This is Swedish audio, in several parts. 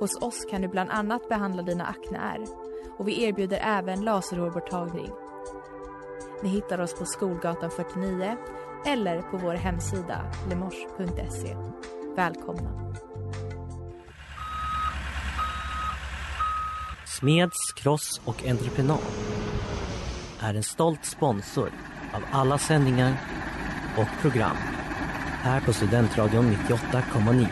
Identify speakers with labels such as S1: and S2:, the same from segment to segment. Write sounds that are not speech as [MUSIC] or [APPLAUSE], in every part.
S1: Hos oss kan du bland annat behandla dina akneär och vi erbjuder även laserhårborttagning. Ni hittar oss på Skolgatan 49 eller på vår hemsida lemors.se. Välkomna!
S2: Smeds, Cross och Entreprenad är en stolt sponsor av alla sändningar och program här på Studentradion 98,9.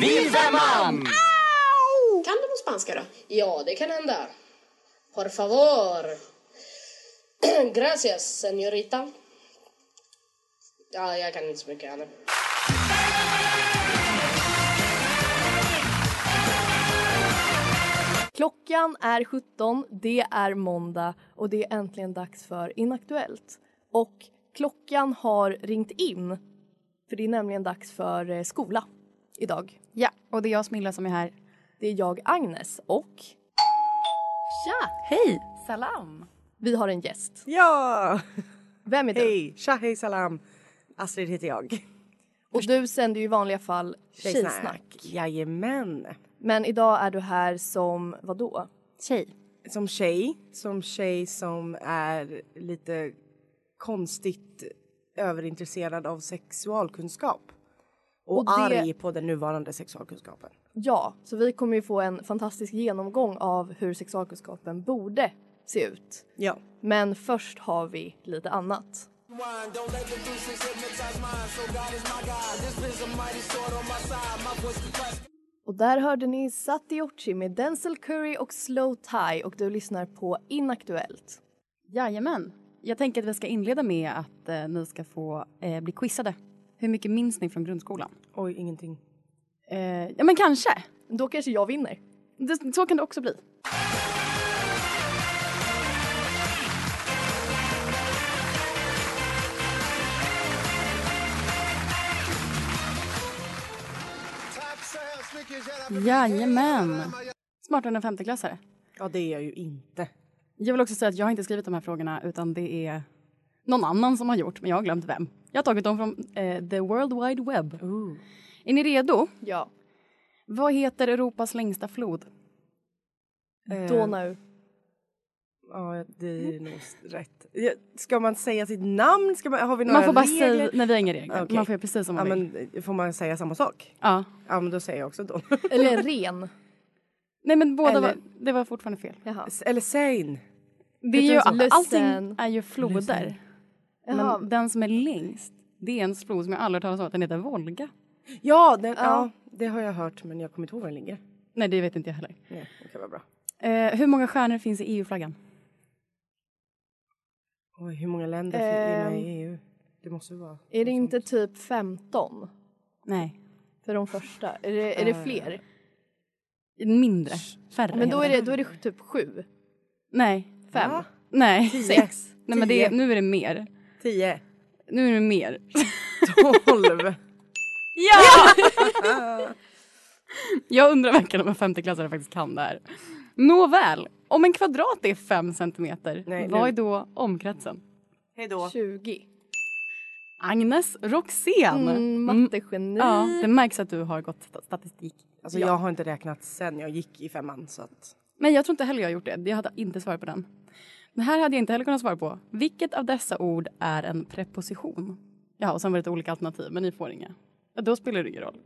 S3: Vi femman!
S4: Kan du på spanska då? Ja, det kan hända. Por favor. [CLEARS THROAT] Gracias, señorita. Ja, jag kan inte så mycket annat.
S5: Klockan är 17, det är måndag och det är äntligen dags för Inaktuellt. Och klockan har ringt in, för det är nämligen dags för eh, skola idag.
S6: Ja, och det är jag Smilla som är här.
S5: Det är jag, Agnes, och
S6: Tja!
S7: Hej!
S6: Salam!
S5: vi har en gäst.
S7: Ja!
S5: Vem är du?
S7: Hej! Tja, hej, salam! Astrid heter jag.
S5: Och du sänder ju i vanliga fall Tjejsnack.
S7: Jajamän.
S5: Men idag är du här som vadå?
S6: Tjej.
S7: Som tjej, som tjej som är lite konstigt överintresserad av sexualkunskap. Och,
S5: Och det-
S7: arg på den nuvarande sexualkunskapen.
S5: Ja, så vi kommer ju få en fantastisk genomgång av hur sexualkunskapen borde se ut.
S7: Ja.
S5: Men först har vi lite annat. Och där hörde ni Satiorchi med Denzel Curry och Slow Tie och du lyssnar på Inaktuellt.
S6: Jajamän. Jag tänker att vi ska inleda med att eh, ni ska få eh, bli quizade. Hur mycket minns ni från grundskolan?
S7: Oj, ingenting.
S6: Eh, ja, men kanske.
S5: Då kanske jag vinner.
S6: Det, så kan det också bli. Jajamän. Smartare än en femteklassare.
S7: Ja, det är jag ju inte.
S6: Jag vill också säga att jag har inte skrivit de här frågorna utan det är någon annan som har gjort, men jag har glömt vem. Jag har tagit dem från eh, the world wide web. Är ni redo?
S5: Ja,
S6: Vad heter Europas längsta flod?
S7: Eh,
S5: Donau.
S7: Ja, det är nog rätt. Ja, Ska man säga sitt namn? Ska man, har vi några
S6: Man får bara
S7: regler?
S6: säga... Nej, vi har inga regler.
S7: Okej.
S6: Man får göra precis som
S7: Ja,
S6: man vill.
S7: men, får man säga samma sak?
S6: Ja.
S7: Ja, men då säger jag också då.
S5: [LAUGHS] Eller ren.
S6: Nej, men båda
S7: Eller-
S6: var, det var fortfarande fel.
S5: Jaha.
S7: Eller Sein.
S6: Det är ju,
S5: som
S6: allting
S5: Lussen.
S6: är ju floder.
S5: Jaha.
S6: Men den som är längst, det är en flod som jag aldrig har hört talas om. Den heter Volga.
S7: Ja, den, ja. det har jag hört men jag kommer inte ihåg var den ligger.
S6: Nej, det vet inte jag heller.
S7: Nej, det kan vara bra.
S6: Eh, hur många stjärnor finns i EU-flaggan?
S7: Oj, hur många länder
S5: Ehm.
S7: är med i EU? Det måste ju vara...
S5: Är det inte typ 15
S6: Nej,
S5: för de första? Är det, är det fler?
S6: mindre. Färre.
S5: Men då är
S6: heter
S5: Eh. det, då är det typ sju.
S6: Nej.
S5: Fem.
S7: Ja.
S6: Nej.
S7: Sex.
S6: Nej men det är,
S7: Tio.
S6: nu är det mer.
S7: Tio.
S6: Nu är det mer.
S7: Tolv.
S6: Ja! jag undrar verkligen om en femteklassare faktiskt kan det här. Nåväl, om en kvadrat är fem centimeter,
S7: Nej,
S6: vad
S7: nu-
S6: är då omkretsen?
S7: [LAUGHS] Hej då.
S5: 20.
S6: Agnes Roxén!
S5: Mm,
S6: Mm,
S5: Mattegeni.
S6: Ja, det märks att du har gått sta- statistik.
S7: Alltså jag har inte räknat sen jag gick i femman så att...
S6: Men jag tror inte heller jag har gjort det. Jag hade inte svarat på den. Det här hade jag inte heller kunnat svara på. Vilket av dessa ord är en preposition? Ja, och sen var det lite olika alternativ, men ni får inga. Ja, Då spelar det ingen roll.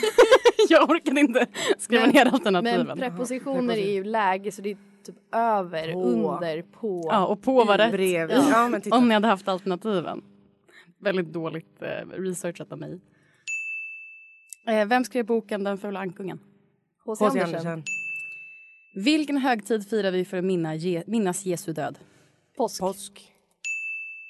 S6: [LAUGHS] jag orkade inte skriva
S5: Men-
S6: ner
S5: Men
S6: alternativen.
S5: prepositioner är ju läge så det är typ över,
S7: På.
S5: under, på.
S6: ja, och på var rätt.
S7: Bredvid. Ja, men titta.
S6: Om ni hade haft alternativen. Väldigt dåligt eh, researchat av mig. Eh, vem skrev boken Den fula ankungen?
S5: H.C.
S7: H.C.
S5: Andersen.
S7: Andersen.
S6: Vilken högtid firar vi för att minna Je- minnas Jesu död?
S5: Påsk.
S7: Påsk.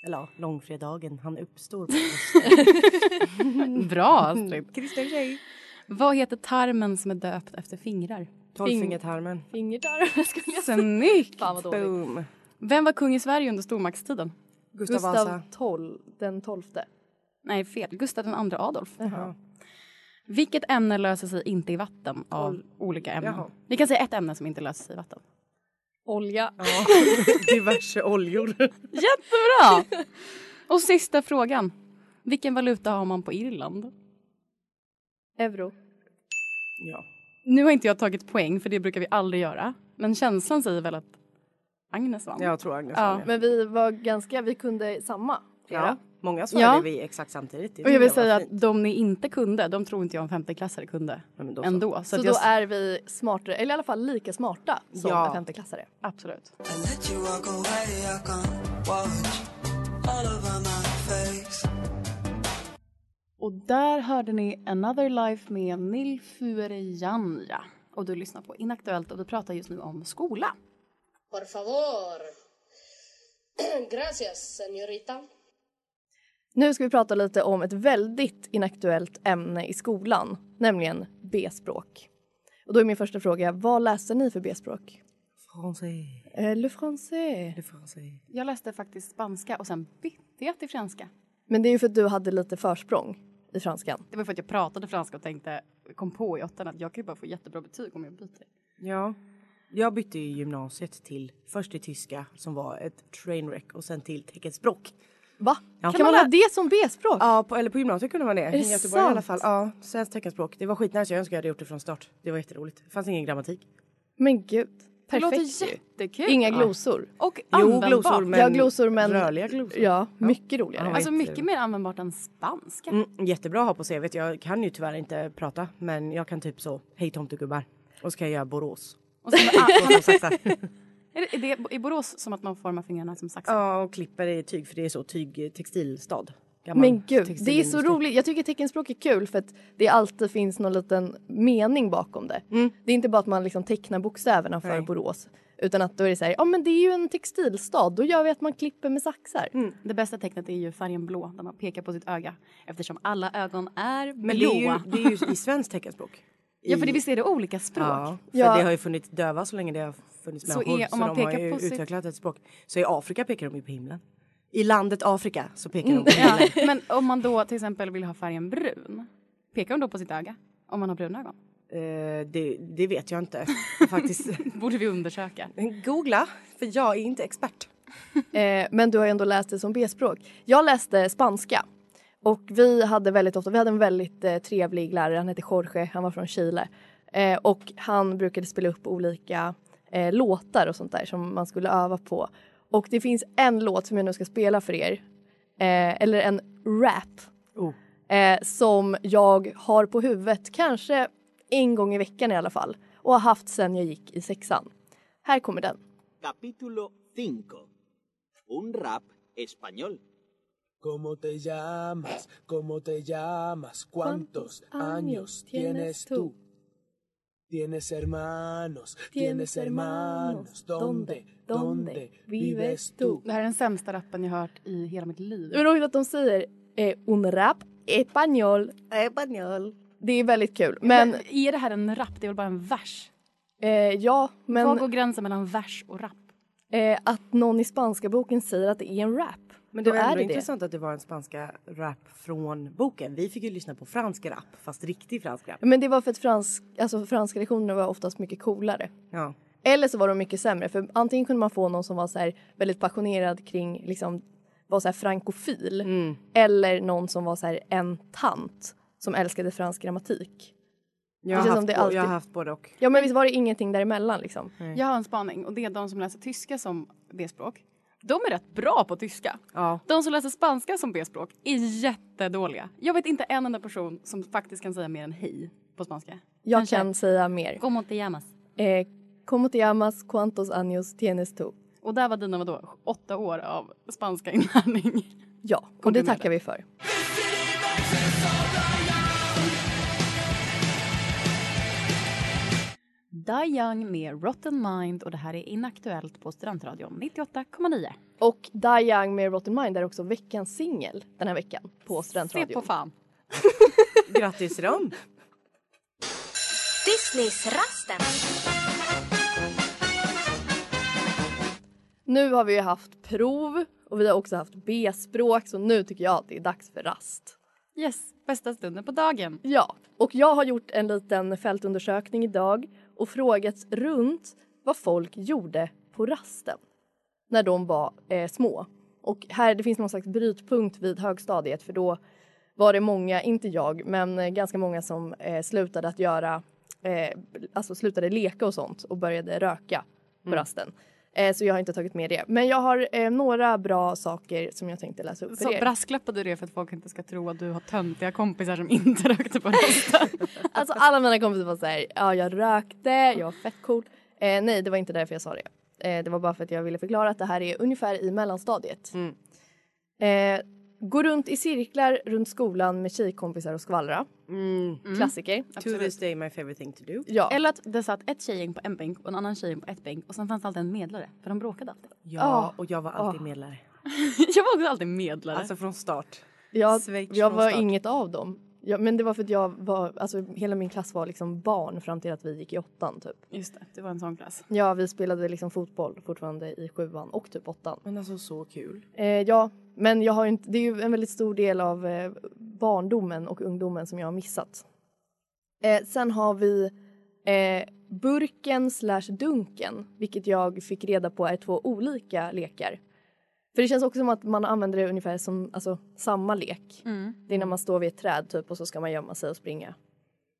S7: Eller ja, långfredagen. Han uppstår på
S6: Bra, Astrid.
S7: Kristen tjej.
S6: Vad heter tarmen som är döpt efter fingrar?
S7: Tolvfingertarmen.
S5: Fingertarmen skulle [LAUGHS] jag säga.
S6: Snyggt!
S5: Fan vad dåligt.
S7: Boom.
S6: Vem var kung i Sverige under stormaktstiden?
S7: Gustav
S5: Gustav
S7: Vasa.
S5: XII, den tolfte.
S6: Nej, fel. Gustav II Adolf. Vilket ämne löser sig inte i vatten av olika ämnen?
S7: Jaha.
S6: Vi kan säga ett ämne som inte löser sig i vatten.
S5: Olja.
S7: Ja. Diverse
S6: [LAUGHS]
S7: oljor.
S6: Jättebra! Och sista frågan. Vilken valuta har man på Irland?
S5: Euro.
S7: Ja.
S6: Nu har inte jag tagit poäng, för det brukar vi aldrig göra. Men känslan säger väl att Agnes vann?
S7: Jag tror Agnes
S6: Ja,
S7: ja,
S5: Men vi var ganska, vi kunde samma.
S7: ja. Många
S6: Ja.
S7: svarade vi exakt samtidigt. Det
S6: Och jag vill
S7: tycker
S6: säga
S7: var
S6: att
S7: fint.
S6: de ni inte kunde, de tror inte jag en femteklassare kunde
S7: Ja, men då så.
S6: ändå. Så,
S5: Så,
S6: att
S5: då
S6: jag...
S5: är vi smartare, eller i alla fall lika smarta som
S7: Ja.
S5: en femteklassare.
S6: Absolut.
S8: And let you walk away, I can't watch all over my face.
S6: Och där hörde ni Another Life med Nilfuerejanja. Och du lyssnar på Inaktuellt och vi pratar just nu om skola.
S4: Por favor. [CLEARS THROAT] Gracias, señorita.
S5: Nu ska vi prata lite om ett väldigt inaktuellt ämne i skolan, nämligen B-språk. Och då är min första fråga, vad läste ni för B-språk?
S7: Français.
S5: Eh, Le français.
S7: Le français.
S6: Jag läste faktiskt spanska och sen bytte jag till franska.
S5: Men det är ju för att du hade lite försprång i franskan.
S6: Det var för att jag pratade franska och tänkte, kom på i åttan att jag kan ju bara få jättebra betyg om jag byter.
S7: Ja. Jag bytte ju gymnasiet till först till tyska som var ett trainwreck och sen till teckenspråk.
S5: Va?
S7: Ja.
S5: Kan man ha det som B-språk?
S7: Ja, på, eller på gymnasiet kunde man det. I
S5: det
S7: Göteborg i alla fall.
S5: sant?
S7: Ja, svenskt teckenspråk. Det var skitnice. Jag önskar jag hade gjort det från start. Det var jätteroligt. Det fanns ingen grammatik.
S5: Men gud,
S6: Det
S5: perfekt
S6: låter
S5: ju.
S6: jättekul.
S5: Inga
S6: Ja.
S5: glosor.
S6: Och
S7: Jo,
S6: användbart.
S7: glosor men,
S5: Ja, glosor, men-
S7: rörliga glosor.
S5: Ja, mycket roligare.
S7: Ja.
S6: Alltså mycket mer användbart än spanska.
S7: Mm, jättebra att ha på CVt. Jag kan ju tyvärr inte prata men jag kan typ så, hej tomtegubbar. Och så kan jag göra Borås.
S6: Och
S7: [LAUGHS]
S6: sen, ah,
S7: Och så saxar.
S6: är, det, är det i Borås som att man formar fingrarna som saxar?
S7: ja, och klipper i tyg för det är så tyg, eh, textilstad. Gammal
S5: Men gud, det är
S7: textilindustri.
S5: så roligt. Jag tycker teckenspråk är kul för att det alltid finns någon liten mening bakom det. Det är inte bara att man liksom tecknar bokstäverna för
S7: Mm. Nej.
S5: Borås. Utan att då är det så här, ja men det är ju en textilstad, då gör vi att man klipper med saxar.
S6: Det bästa tecknet är ju färgen blå där man pekar på sitt öga eftersom alla ögon är blåa.
S7: Men det är, ju, det är ju i svenskt teckenspråk.
S6: [LAUGHS] Ja, för det,
S7: I-
S6: visst är det olika språk?
S7: Ja, för
S5: Ja.
S7: det har ju funnits döva så länge det har funnits
S6: Så
S7: människor.
S6: är- om
S7: så
S6: man
S7: de har
S6: pekar
S7: ju
S6: på sitt-
S7: utvecklat ett språk. Så i Afrika pekar de ju på himlen. I landet Afrika så pekar de på himlen. [LAUGHS]
S6: Ja, men om man då till exempel vill ha färgen brun, pekar de då på sitt öga? Om man har bruna ögon?
S7: Eh, det, det vet jag inte [LAUGHS] faktiskt.
S6: borde vi undersöka.
S7: Googla, för jag är inte expert.
S5: Eh, men du har ju ändå läst det som B-språk. Jag läste spanska. Och vi hade väldigt ofta, vi hade en väldigt eh, trevlig lärare, han hette Jorge, han var från Chile. Eh, och han brukade spela upp olika eh, låtar och sånt där som man skulle öva på. Och det finns en låt som jag nu ska spela för er, eh, eller en rap,
S7: Oh.
S5: eh, som jag har på huvudet kanske en gång i veckan i alla fall och har haft sedan jag gick i sexan. Här kommer den.
S3: Capítulo 5. Un rap español.
S9: ¿Cómo te llamas? ¿Cómo te llamas? ¿Cuántos años tienes tú? Tienes hermanos, tienes hermanos. ¿Dónde, dónde vives tú?
S6: Det här är den sämsta rappen jag hört i hela mitt liv.
S5: Det är roligt att de säger eh, un rap Eh, español.
S7: Espanol.
S5: Det är väldigt kul.
S6: Men
S5: Men
S6: är det här en rap? Det är väl bara en vers?
S5: eh, ja,
S6: Var
S5: men
S6: går gränsen mellan vers och rap?
S5: eh, att någon i spanska boken säger att det är en rap.
S7: Men det
S5: Då
S7: var
S5: är
S7: ändå
S5: det det.
S7: intressant att det var en spanska rap från boken. Vi fick ju lyssna på fransk rap, fast riktig fransk rap.
S5: Men det var för att fransk, alltså franska lektionerna var oftast mycket coolare.
S7: Ja.
S5: Eller så var de mycket sämre. För antingen kunde man få någon som var så här väldigt passionerad kring liksom var så här frankofil. Eller någon som var så här en tant som älskade fransk grammatik.
S7: Jag,
S5: Det
S7: har
S5: känns
S7: haft,
S5: som det
S7: bo-
S5: alltid-
S7: jag har haft både och.
S5: Ja men visst var det ingenting däremellan liksom.
S6: Jag har en spaning och det är de som läser tyska som B-språk. De är rätt bra på tyska.
S7: Ja.
S6: De som läser spanska som B-språk är jättedåliga. Jag vet inte en enda person som faktiskt kan säga mer än hej på spanska.
S5: Jag
S6: Kanske.
S5: kan säga mer.
S6: Como te llamas?
S5: Eh, ¿Cómo te llamas? ¿Cuántos años tienes tú?
S6: Och där var dina vadå, åtta år av spanska inlärning.
S5: Ja, och det
S6: Komplimanger.
S5: tackar vi för.
S6: Die Young med Rotten Mind och det här är inaktuellt på Studentradion 98,9.
S5: Och Die Young med Rotten Mind är också veckans singel den här veckan på Studentradion.
S6: Se på fan.
S7: Grattis till dem!
S10: Disneys-rasten.
S5: Nu har vi ju haft prov och vi har också haft B-språk så nu tycker jag att det är dags för rast.
S6: Yes, bästa stunden på dagen.
S5: Ja, och jag har gjort en liten fältundersökning idag och frågat runt vad folk gjorde på rasten när de var eh, små. Och här, det finns någon slags brytpunkt vid högstadiet för då var det många, inte jag, men eh, ganska många som eh, slutade att göra, eh, alltså slutade leka och sånt och började röka på
S6: Mm.
S5: rasten. Eh, så jag har inte tagit med det. Men jag har eh, några bra saker som jag tänkte läsa upp för
S6: Så
S5: er.
S6: brasklappade du det för att folk inte ska tro att du har töntiga kompisar som [LAUGHS] inte rökte på
S5: Alltså alla mina kompisar var så här, ja jag rökte, jag var fett cool. Eh, nej, det var inte därför jag sa det. Eh, det var bara för att jag ville förklara att det här är ungefär i mellanstadiet.
S7: Mm.
S5: Eh, gå runt i cirklar runt skolan med tjejkompisar och skvallra.
S7: Mm.
S5: Klassiker.
S7: To this day my favorite thing to do.
S5: Ja.
S6: Eller att det satt ett tjejgäng på en bänk och en annan tjejgäng på ett bänk och sen fanns det alltid en medlare för de bråkade [LAUGHS] alltid.
S7: Ja, och jag var alltid medlare.
S6: jag var också alltid medlare.
S7: ah. Alltså från start.
S5: Jag,
S7: Schweiz
S5: jag
S7: från
S5: var
S7: start.
S5: inget av dem. Ja, men det var för att jag var, alltså hela min klass var liksom barn fram till att vi gick i åttan typ.
S6: Just det, det var en sån klass.
S5: Ja, vi spelade liksom fotboll fortfarande i sjuan och typ åttan.
S7: Men alltså så kul.
S5: Eh, ja, men jag har ju inte, det är ju en väldigt stor del av eh, barndomen och ungdomen som jag har missat. Eh, sen har vi eh, burken slash dunken, vilket jag fick reda på är två olika lekar. För det känns också som att man använder det ungefär som alltså, samma lek.
S6: Mm.
S5: Det är när man står vid ett träd typ och så ska man gömma sig och springa.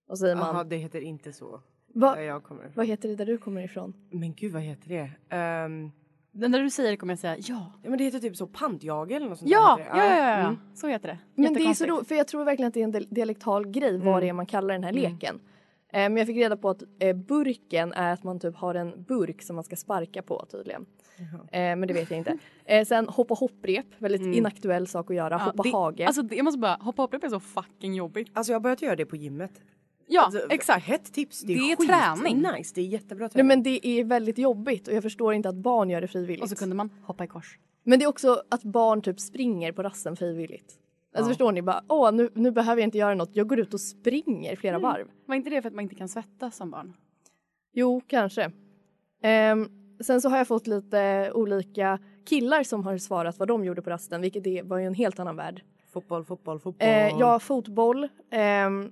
S5: Och så säger
S7: Jaha,
S5: man,
S7: det heter inte så.
S5: Va,
S7: Där jag kommer ifrån.
S5: vad heter det där du kommer ifrån?
S7: Men gud vad heter det? Ehm,
S6: Den där du säger det kommer jag säga ja.
S7: ja, men det heter typ så pantjagel eller något sånt
S6: Ja,
S7: där heter
S6: ja,
S7: det.
S6: ja, ja, ja.
S7: Mm.
S6: så heter det.
S5: Men det är så
S6: Jättekonstigt. Mm.
S5: roligt, för jag tror verkligen att det är en del- dialektal grej vad det är man kallar den här leken. Eh, men jag fick reda på att eh, burken är att man typ har en burk som man ska sparka på tydligen. Eh, men det vet jag inte. Eh, sen hoppa hopprep, väldigt inaktuell sak att göra.
S6: Mm. Ja,
S5: hoppa
S6: det,
S5: hage.
S6: Alltså det, jag måste bara, hoppa hopprep är så fucking jobbigt.
S7: Alltså jag har börjat göra det på gymmet.
S6: Ja,
S7: Alltså,
S6: exakt.
S7: Hett tips. Det är,
S6: Det är
S7: skit.
S6: träning.
S7: Nice, det är jättebra
S5: Nej
S7: träning.
S5: men det är väldigt jobbigt och jag förstår inte att barn gör det frivilligt.
S6: Och så kunde man hoppa i kors.
S5: Men det är också att barn typ springer på rasten frivilligt. Alltså förstår ni? Bara, Åh, nu, nu behöver jag inte göra något. Jag går ut och springer flera varv.
S6: Var inte det för att man inte kan svettas som barn?
S5: Jo, kanske. Ehm, sen så har jag fått lite olika killar som har svarat vad de gjorde på rasten, vilket det var ju en helt annan värld.
S7: Fotboll, fotboll, fotboll.
S5: Eh, ja, fotboll. ehm,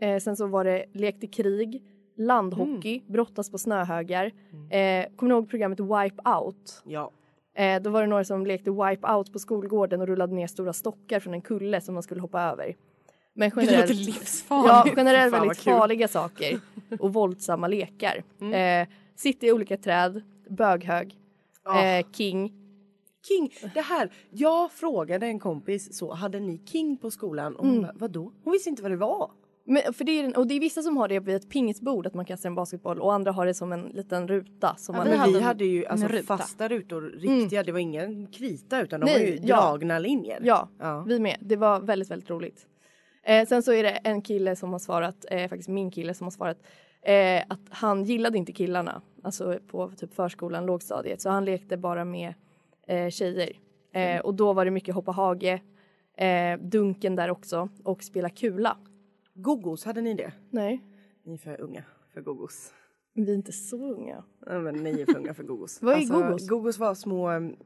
S5: eh, sen så var det lekte krig, landhockey,
S6: Mm.
S5: brottas på snöhögar. Eh, kommer ni ihåg programmet Wipe Out?
S7: Ja.
S5: Eh, då var det några som lekte Wipe Out på skolgården och rullade ner stora stockar från en kulle som man skulle hoppa över. Men
S6: Det låter
S5: generellt...
S6: livsfarligt.
S5: Ja, generellt
S7: vad
S5: väldigt
S7: kul.
S5: farliga saker och våldsamma lekar.
S7: Mm.
S5: Eh, sitta i olika träd, böghög, eh, king.
S7: King, det här. Jag frågade en kompis så, hade ni King på skolan? Och hon bara, vadå? Hon visste inte vad det var.
S5: Men, för det är, den- och det är vissa som har det vid ett pingisbord, att man kastar en basketboll och andra har det som en liten ruta. Som man,
S7: men vi
S6: hade en-
S7: hade ju alltså,
S6: en ruta.
S7: fasta rutor, riktiga. Det var ingen krita utan de
S5: Nej,
S7: var ju
S5: ja.
S7: dragna linjer.
S5: ja,
S7: Ja.
S5: vi med. Det var väldigt, väldigt roligt. Eh, sen så är det en kille som har svarat, eh, faktiskt min kille som har svarat eh, att han gillade inte killarna, alltså på typ förskolan, lågstadiet, så han lekte bara med eh, tjejer. Eh, och då var det mycket hoppa hage, eh, dunken där också och spela kula.
S7: Gogos, hade ni det?
S5: Nej,
S7: Ni är för unga för gogos.
S5: vi är inte så unga.
S7: Nej, men ni är för unga för gogos. Alltså,
S5: Vad är gogos?
S7: Gogos var små em,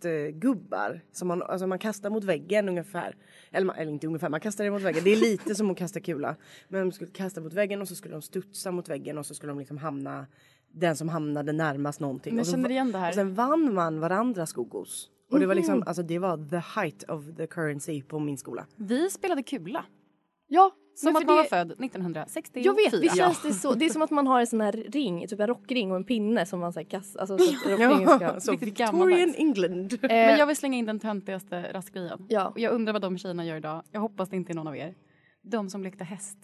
S7: plastgubbar som man, alltså man kastar mot väggen ungefär. Eller, man, eller inte ungefär, man kastar det mot väggen. Det är lite som att kasta kula. Men de skulle kasta mot väggen och så skulle de studsa mot väggen och så skulle de liksom hamna den som hamnade närmast någonting.
S6: Men jag
S7: och så
S6: känner igen det här.
S7: Och sen vann man varandras gogos. Och det var liksom,
S5: Mhm.
S7: alltså det var the height of the currency på min skola.
S6: Vi spelade kula.
S5: Ja,
S6: Som
S5: men
S6: att
S5: för
S6: man var
S5: det-
S6: född 1964.
S5: Jag vet, visst känns det så? Det är som att man har en sån här ring, typ en rockring och en pinne som man så här kastar. Alltså, så att rockringen ska... [LAUGHS] Eh,
S7: Så
S6: Riktigt
S7: Victorian
S6: gammaldags.
S7: England. [LAUGHS]
S6: Men jag vill slänga in den töntigaste raskgrejen.
S5: Ja.
S6: Och jag undrar vad de tjejerna gör idag. Jag hoppas det inte är någon av er. De som lekte häst.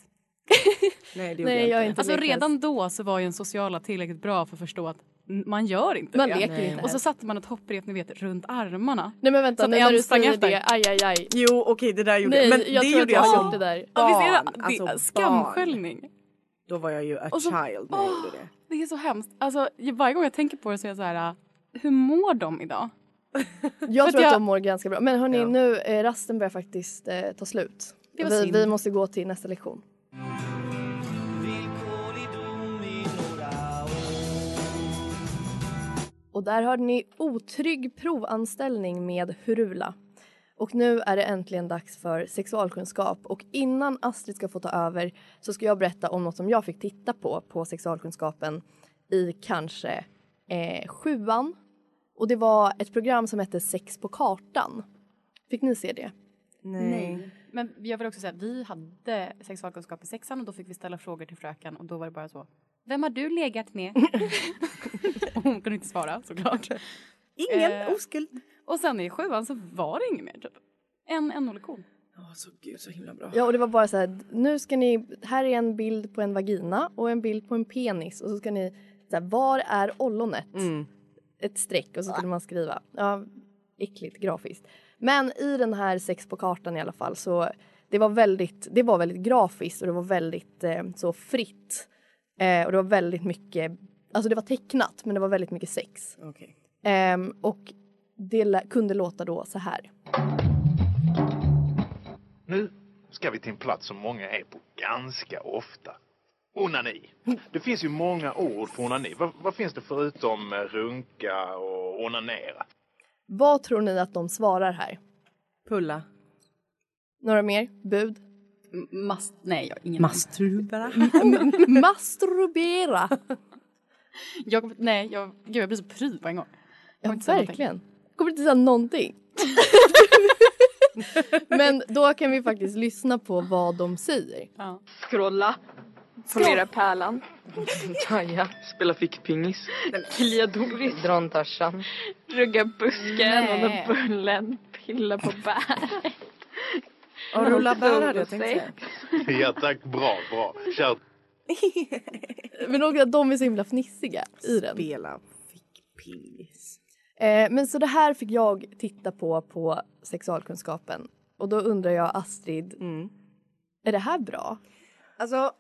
S7: Nej det gjorde
S5: Nej, jag är inte
S6: Alltså
S5: lekmän.
S6: redan då så var ju en sociala tillräckligt bra för att förstå att n- man gör inte
S5: Man
S6: det.
S5: leker ju inte
S6: Och så
S5: häst.
S6: satte man ett hopprep ni vet runt armarna.
S5: Nej men vänta,
S6: Så att
S5: nu
S6: en
S5: när du
S6: sprang
S5: säger
S6: efter.
S5: det, aj aj aj.
S7: Jo okej det där gjorde
S5: Nej, jag
S7: jag. det
S5: tror att jag
S7: gjorde jag
S5: har
S7: som Alltså,
S5: gjort det där.
S6: Ja, visst är det,
S7: barn,
S6: det
S7: alltså barn.
S6: skamsköljning?
S7: Då var jag ju a
S6: Och så-
S7: child när jag
S6: Åh!
S7: gjorde det.
S6: Det är så hemskt. Alltså, jag- varje gång jag tänker på det så är jag så här, äh, hur mår de idag?
S5: Jag
S6: För
S5: tror
S6: att
S5: att
S6: jag-
S5: de mår ganska bra. Men hörni,
S6: Ja.
S5: nu eh, rasten börjar faktiskt eh, ta slut.
S6: Det var
S5: Vi,
S6: synd.
S5: vi måste gå till nästa lektion. Och där hörde ni otrygg provanställning med Hurula. Och nu är det äntligen dags för sexualkunskap och innan Astrid ska få ta över så ska jag berätta om något som jag fick titta på på sexualkunskapen i kanske eh, sjuan. Och det var ett program som hette Sex på kartan. Fick ni se det?
S6: Men jag vill också säga att vi hade sexualkunskap i sexan och då fick vi ställa frågor till fröken och då var det bara så. Vem har du
S5: [LAUGHS]
S6: legat med? Och Hon kunde inte svara såklart.
S7: Ingen
S5: Eh.
S7: oskuld.
S6: Och sen i sjuan så var det inget mer typ. En, en lektion.
S7: Åh, så gud så himla bra.
S5: Ja, och det var bara så här, nu ska ni, här är en bild på en vagina och en bild på en penis och så ska ni, så här, var är ollonet? Ett streck och så skulle man skriva. Ja, äckligt grafiskt. Men i den här sex på kartan i alla fall så det var väldigt, det var väldigt grafiskt och det var väldigt eh, så fritt. Eh, och det var väldigt mycket, alltså det var tecknat men det var väldigt mycket sex.
S7: Okej.
S5: Ehm, och det lä- kunde låta då så här.
S10: Nu ska vi till en plats som många är på ganska ofta. Onani. Det finns ju många ord för onani. Vad, vad finns det förutom eh, runka och onanera?
S5: Vad tror ni att de svarar här?
S7: Pulla.
S5: Några mer bud?
S6: Mast, nej, jag har ingen
S7: [LAUGHS] Masturbera.
S5: [LAUGHS] Masturbera.
S6: Jag, nej, jag, gud, jag blir så pryd på en gång.
S5: Ja,
S6: inte säga
S5: verkligen. Kommer inte säga någonting. Men då kan vi faktiskt lyssna på vad de säger.
S11: Scrolla. Polera pärlan. Jaja. Spela fickpingis. Klia Doris. Dra en tarsan. Rugga busken.
S6: Nej.
S11: Hålla bullen. Pilla på bäret.
S10: Ja, rulla bär hade jag
S11: Sola
S10: tänkt
S11: sig.
S10: säga. Ja tack, bra, bra. Kör.
S5: Men också att de är så himla fnissiga i den.
S7: Spela fickpingis.
S5: Eh, men så det här fick jag titta på på sexualkunskapen. Och då undrar jag Astrid, är det här bra?
S7: Alltså, [LAUGHS]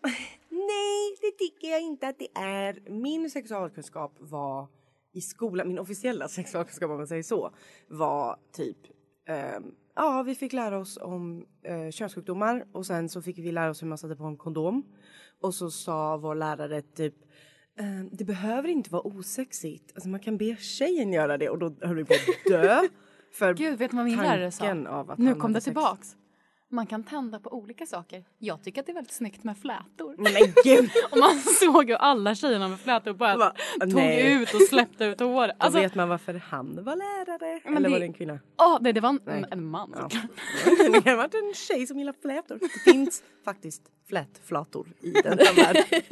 S7: nej det tycker jag inte att det är. Min sexualkunskap var i skolan, min officiella [LAUGHS] sexualkunskap om man säger så, var typ ehm, Ja, vi fick lära oss om eh, könssjukdomar och sen så fick vi lära oss hur man satte på en kondom. Och så sa vår lärare typ ehm, det behöver inte vara osexigt. Alltså man kan be tjejen göra det och då höll vi på
S6: [LAUGHS]
S7: att dö. För
S6: Gud, vet du vad min
S7: tanken
S6: lärare sa?
S7: Av att
S6: Nu
S7: han
S6: kom
S7: hade
S6: det
S7: sex.
S6: tillbaks. Man kan tända på olika saker. Jag tycker att det är väldigt snyggt med flätor.
S7: Men
S6: [LAUGHS]
S7: gud!
S6: och
S7: [LAUGHS]
S6: man såg ju alla tjejerna med flätor bara tog
S7: nej.
S6: ut och släppte ut håret.
S7: Då
S6: Alltså,
S7: vet man varför han var lärare.
S6: Men
S7: Eller var
S6: det-
S7: det en kvinna?
S6: åh, nej, det var en, en man.
S7: [LAUGHS] Det kan ha varit en tjej som gillar flätor. Det finns faktiskt flätflator i den här världen.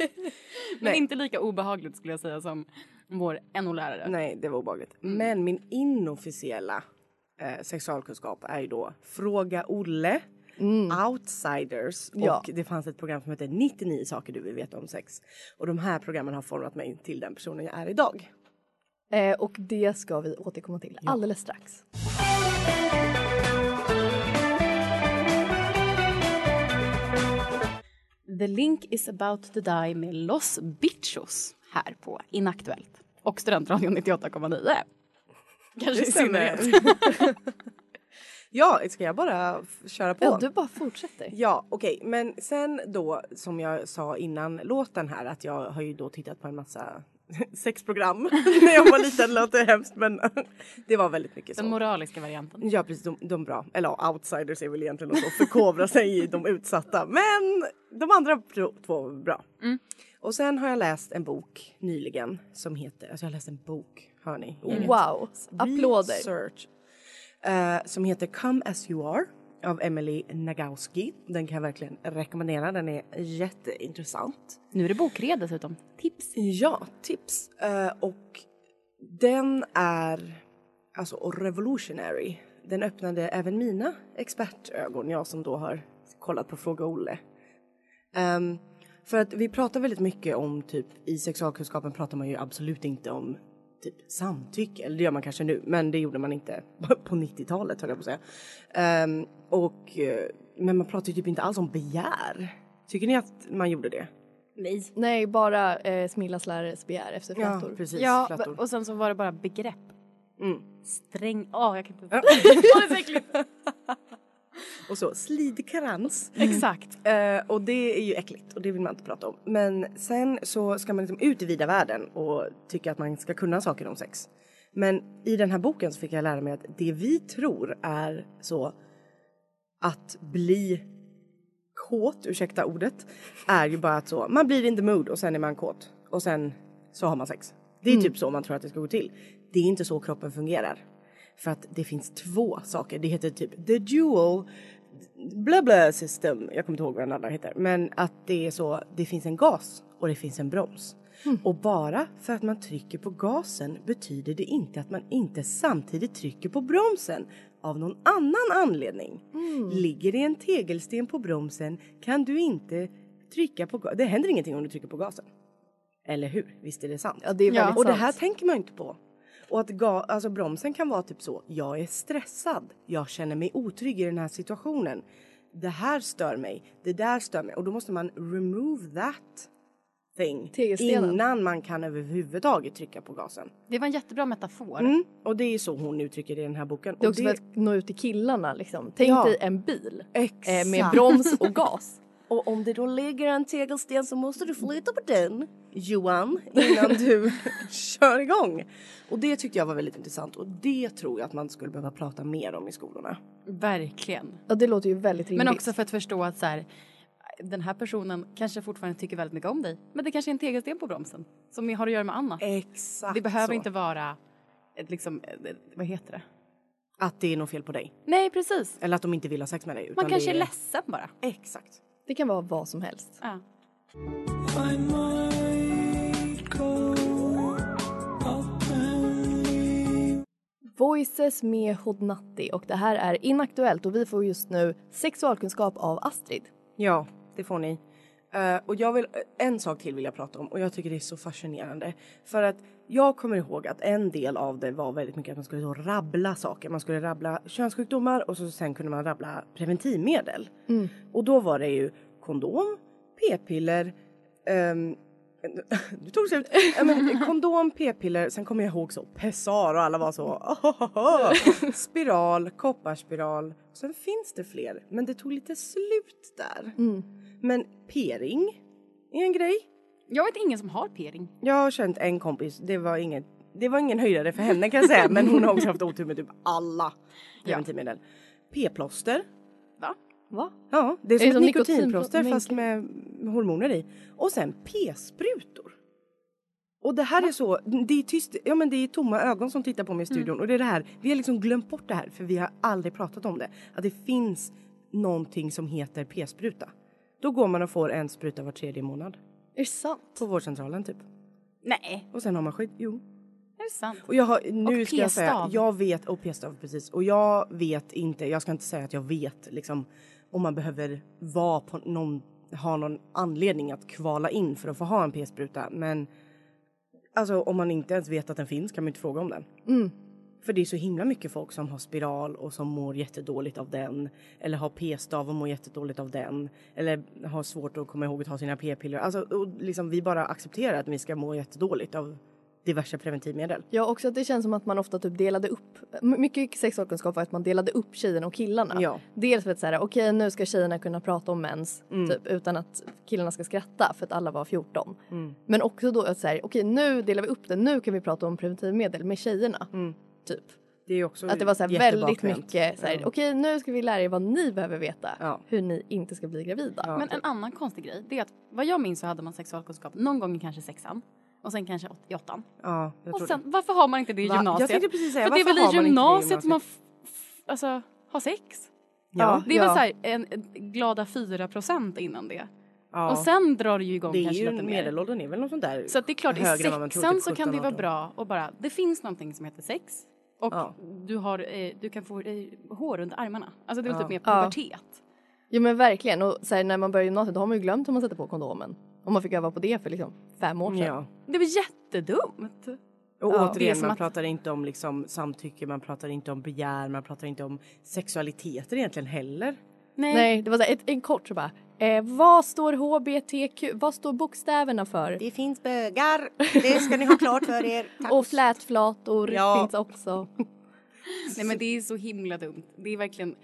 S6: Men inte lika obehagligt skulle jag säga som vår NO-lärare.
S7: [LAUGHS] Nej, det var obehagligt. Men min inofficiella eh, sexualkunskap är ju då Fråga Olle, Mm. Outsiders
S5: Ja.
S7: och det fanns ett program som hette 99 saker du vill veta om sex. Och de här programmen har format mig till den personen jag är idag.
S5: Eh, och det ska vi återkomma till alldeles strax.
S6: The Link is about to die med Los Bichos här på Inaktuellt och Studentradion 98,9. Kanske i synnerhet.
S7: [LAUGHS] ja, ska jag bara f- köra på?
S5: Ja, du bara fortsätter.
S7: Ja, okej. Men sen då, som jag sa innan låten här, att jag har ju då tittat på en massa [LAUGHS] sexprogram [LAUGHS] när jag var liten. låter hemskt, men [LAUGHS] det var väldigt mycket så.
S6: Den moraliska varianten.
S5: Liksom.
S7: Ja, precis. De, de bra. Eller ja, outsiders är väl egentligen att förkovra sig i de utsatta. Men de andra pro- två var bra.
S5: Mm.
S7: Och sen har jag läst en bok nyligen som heter... Alltså jag har läst en bok, hör ni. Ordet.
S5: Mm. Wow, applåder.
S7: Research. Eh, som heter Come as you are av Emily Nagowski. Den kan jag verkligen rekommendera. Den är jätteintressant.
S6: Nu är det bokrea dessutom. Tips.
S7: Ja, tips. Eh, och den är alltså revolutionary. Den öppnade även mina expertögon, jag som då har kollat på Fråga Olle. Ehm, för att vi pratar väldigt mycket om typ i sexualkunskapen pratar man ju absolut inte om typ samtycke, eller det gör man kanske nu, men det gjorde man inte [LAUGHS] på 90-talet höll jag på att säga. Ehm, och, eh, men man pratar ju typ inte alls om begär. Tycker ni att man gjorde det?
S5: Nej. Nej, bara eh, Smillas lärares begär efter
S6: Ja,
S5: flätor.
S6: precis, Mm. Ja, flätor.
S5: och sen så var det bara begrepp.
S6: Sträng... Åh, jag kan inte... [LAUGHS]
S7: Ja.
S6: Åh, det är så äckligt.
S7: Och så slidkrans.
S6: Exakt.
S7: Eh, och det är ju äckligt och det vill man inte prata om. Men sen så ska man liksom ut i vida världen och tycka att man ska kunna saker om sex. Men i den här boken så fick jag lära mig att det vi tror är så att bli kåt, ursäkta ordet, är ju bara att så, man blir in the mood och sen är man kåt. Och sen så har man sex. Det är typ så man tror att det ska gå till. Det är inte så kroppen fungerar. För att det finns två saker. Det heter typ the dual bla bla system. Jag kommer inte ihåg vad den andra heter. Men att det är så, det finns en gas och det finns en broms.
S5: Mm.
S7: Och bara för att man trycker på gasen betyder det inte att man inte samtidigt trycker på bromsen av någon annan anledning.
S5: Mm.
S7: Ligger det en tegelsten på bromsen kan du inte trycka på gasen. Det händer ingenting om du trycker på gasen. Eller hur? Visst är det sant?
S5: Ja, det är väldigt
S7: Och det
S5: sant.
S7: här tänker man ju inte på. Och att ga- alltså bromsen kan vara typ så, jag är stressad, jag känner mig otrygg i den här situationen. Det här stör mig, det där stör mig. Och då måste man remove that thing
S6: Tegelstenen.
S7: innan man kan överhuvudtaget trycka på gasen.
S6: Det var en jättebra metafor.
S7: Mm. Och det är så hon uttrycker det i den här boken.
S5: Det är
S7: Och
S5: också för att nå ut till killarna liksom. Tänk
S7: Ja.
S5: dig en bil
S7: Exakt.
S5: eh, med broms och gas.
S7: Och om det då ligger en tegelsten så måste du flytta på den, Johan, innan
S6: [LAUGHS]
S7: du kör igång. Och det tyckte jag var väldigt intressant och det tror jag att man skulle behöva prata mer om i skolorna.
S6: Verkligen.
S5: Ja, det låter ju väldigt rimligt.
S6: Men också för att förstå att så här, den här personen kanske fortfarande tycker väldigt mycket om dig. Men det kanske är en tegelsten på bromsen som har att göra med annat.
S7: Exakt
S6: Det behöver
S7: så.
S6: inte vara ett, liksom, ett, vad heter det?
S7: Att det är något fel på dig.
S6: Nej, precis.
S7: Eller att de inte vill ha sex med dig.
S6: Man kanske är...
S7: det
S6: ledsen bara.
S7: Exakt.
S5: Det kan vara vad som helst.
S6: Ja.
S8: I might go up and leave.
S5: Voices med Hodnatti och det här är Inaktuellt och vi får just nu sexualkunskap av Astrid.
S7: Ja, det får ni. Eh, och jag vill, en sak till vill jag prata om och jag tycker det är så fascinerande. För att jag kommer ihåg att en del av det var väldigt mycket att man skulle då rabbla saker. Man skulle rabbla könssjukdomar och så sen kunde man rabbla preventivmedel. Och då var det ju kondom, p-piller, ehm, [LAUGHS] nu tog det slut. Ja, men, kondom, p-piller, sen kommer jag ihåg så pessar och alla var så [LAUGHS] "Ohohoho." spiral, kopparspiral. Sen finns det fler, men det tog lite slut där. Men p-ring är en grej.
S6: Jag vet ingen som har p-ring.
S7: Jag har känt en kompis, det var ingen, det var ingen höjdare för henne kan jag säga, men hon har också haft otur med typ alla preventivmedel. P-plåster.
S6: Va?
S5: Va?
S7: Ja, det är som
S5: det
S7: ett
S5: som
S7: nikotinplåster
S5: nikotinplå-
S7: fast med hormoner i. Och sen p-sprutor. Och det här är så, det är tyst, ja men det är tomma ögon som tittar på mig i studion och det är det här, vi har liksom glömt bort det här för vi har aldrig pratat om det. Att det finns någonting som heter p-spruta. Då går man och får en spruta var tredje månad.
S5: Är det sant?
S7: På vårdcentralen typ.
S6: Nej.
S7: Och sen har man skit, jo.
S6: Är det sant?
S7: Och jag har, nu
S6: Och
S7: ska jag säga,
S6: p-stav.
S7: jag vet, och p-stav precis. Och jag vet inte, jag ska inte säga att jag vet liksom om man behöver vara på någon, ha någon anledning att kvala in för att få ha en p-spruta. Men alltså om man inte ens vet att den finns kan man inte fråga om den.
S5: Mm.
S7: För det är så himla mycket folk som har spiral och som mår jättedåligt av den. Eller har p-stav och mår jättedåligt av den. Eller har svårt att komma ihåg att ta sina p-piller. Alltså och liksom vi bara accepterar att vi ska må jättedåligt av diverse preventivmedel.
S5: Ja, också att det känns som att man ofta typ delade upp. m- Mycket sexualkunskap var att man delade upp tjejerna och killarna.
S7: Ja.
S5: Dels för att så här, okej nu ska tjejerna kunna prata om mens
S7: Mm.
S5: typ, utan att killarna ska skratta för att alla var 14.
S7: Mm.
S5: Men också då att så här, okej nu delar vi upp det, nu kan vi prata om preventivmedel med tjejerna.
S7: Mm.
S5: Typ.
S7: Det är också
S5: Att det var så här väldigt
S7: jättebakvänt.
S5: mycket så här,
S7: Mm. Ja.
S5: okej nu ska vi lära er vad ni behöver veta.
S7: Ja.
S5: Hur ni inte ska bli gravida.
S6: Men en annan konstig grej, det är att vad jag minns så hade man sexualkunskap någon gång i kanske sexan och sen kanske åt- i åttan.
S7: Ja, jag
S6: Och
S7: tror
S6: sen, varför har man inte det i
S7: Va?
S6: gymnasiet?
S7: Jag tänkte precis säga,
S6: För det är
S7: varför
S6: väl i
S7: har man inte det i
S6: gymnasiet man f- f- alltså, har sex?
S7: Ja.
S6: det är väl
S7: Ja.
S6: så här, en, en glada 4 procent innan det.
S7: Ja.
S6: Och sen drar det ju igång
S7: det är
S6: kanske
S7: ju
S6: lite mer.
S7: medelåldern är väl något sånt där
S6: Så att det är klart, i
S7: högre än vad man
S6: sexan
S7: tror, typ
S6: så kan det
S7: 17,
S6: vara
S7: 18.
S6: bra och bara, det finns någonting som heter sex. Och
S7: Ja.
S6: du, har, eh, du kan få eh, hår under armarna. Alltså det är väl
S5: Ja.
S6: typ mer
S5: Ja.
S6: pubertet.
S5: Jo men verkligen och så här, när man börjar gymnasiet då har man ju glömt hur man sätter på kondomen. Om man fick öva på det för liksom fem år sedan.
S7: Ja.
S6: Det var jättedumt.
S7: Och
S5: Ja. Det är
S7: återigen,
S5: som
S7: man
S5: att-
S7: pratar inte om liksom samtycke, man pratar inte om begär, man pratar inte om sexualiteter egentligen heller.
S6: Nej.
S5: det var så här, ett, en kort så bara. Eh, vad står HBTQ? Vad står bokstäverna för?
S7: Det finns bögar. Det ska ni ha klart för er.
S5: Och flätflator
S6: Ja.
S5: finns också.
S6: Nej men det är så himla dumt. Det är verkligen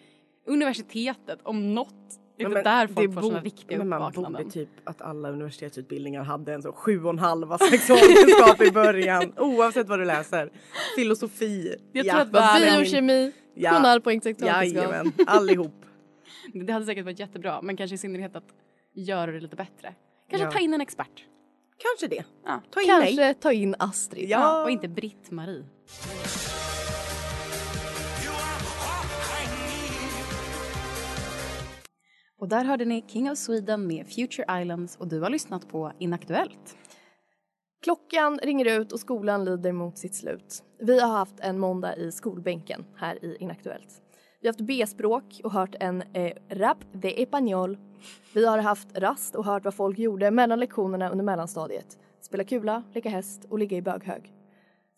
S6: universitetet om något. Det är
S7: Men
S6: inte där
S7: det
S6: folk får såna
S7: bo-
S6: riktiga
S7: Men man borde
S6: uppvaknanden.
S7: typ att alla universitetsutbildningar hade en så sju och en halva [LAUGHS] sexualkunskap i början. Oavsett vad du läser. Filosofi.
S6: Jag
S7: ja,
S6: tror att bara
S7: världen.
S6: biokemi,
S7: Ja.
S6: 7,5 poäng sexualkunskap. [LAUGHS]
S7: Jajamän, allihop. typ-
S6: Det hade säkert varit jättebra men kanske i synnerhet att göra det lite bättre. Kanske
S7: Ja.
S6: ta in en expert.
S7: Kanske det.
S6: Ja.
S7: Ta in
S6: kanske
S7: mig.
S5: ta in Astrid.
S7: Ja.
S6: och inte Britt-Marie. Och där hörde ni King of Sweden med Future Islands och du har lyssnat på Inaktuellt.
S5: Klockan ringer ut och skolan lider mot sitt slut. Vi har haft en måndag i skolbänken här i Inaktuellt. Vi har haft B-språk och hört en eh, rap de español. Vi har haft rast och hört vad folk gjorde mellan lektionerna under mellanstadiet. Spela kula, leka häst och ligga i böghög.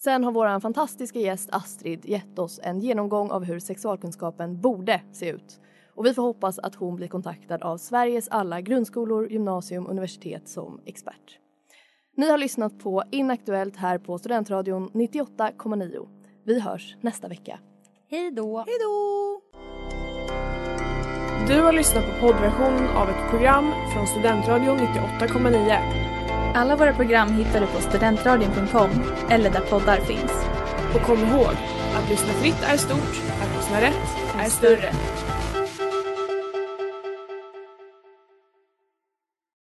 S5: Sen har vår fantastiska gäst Astrid gett oss en genomgång av hur sexualkunskapen borde se ut. Och vi får hoppas att hon blir kontaktad av Sveriges alla grundskolor, gymnasium, universitet som expert. Ni har lyssnat på Inaktuellt här på Studentradion 98,9. Vi hörs nästa vecka.
S6: Hej då!
S12: Hej då! Du har lyssnat på poddversionen av ett program från Studentradion 98,9.
S1: Alla våra program hittar du på studentradion.com eller där poddar finns.
S12: Och kom ihåg, att lyssna fritt är stort, att lyssna rätt är större.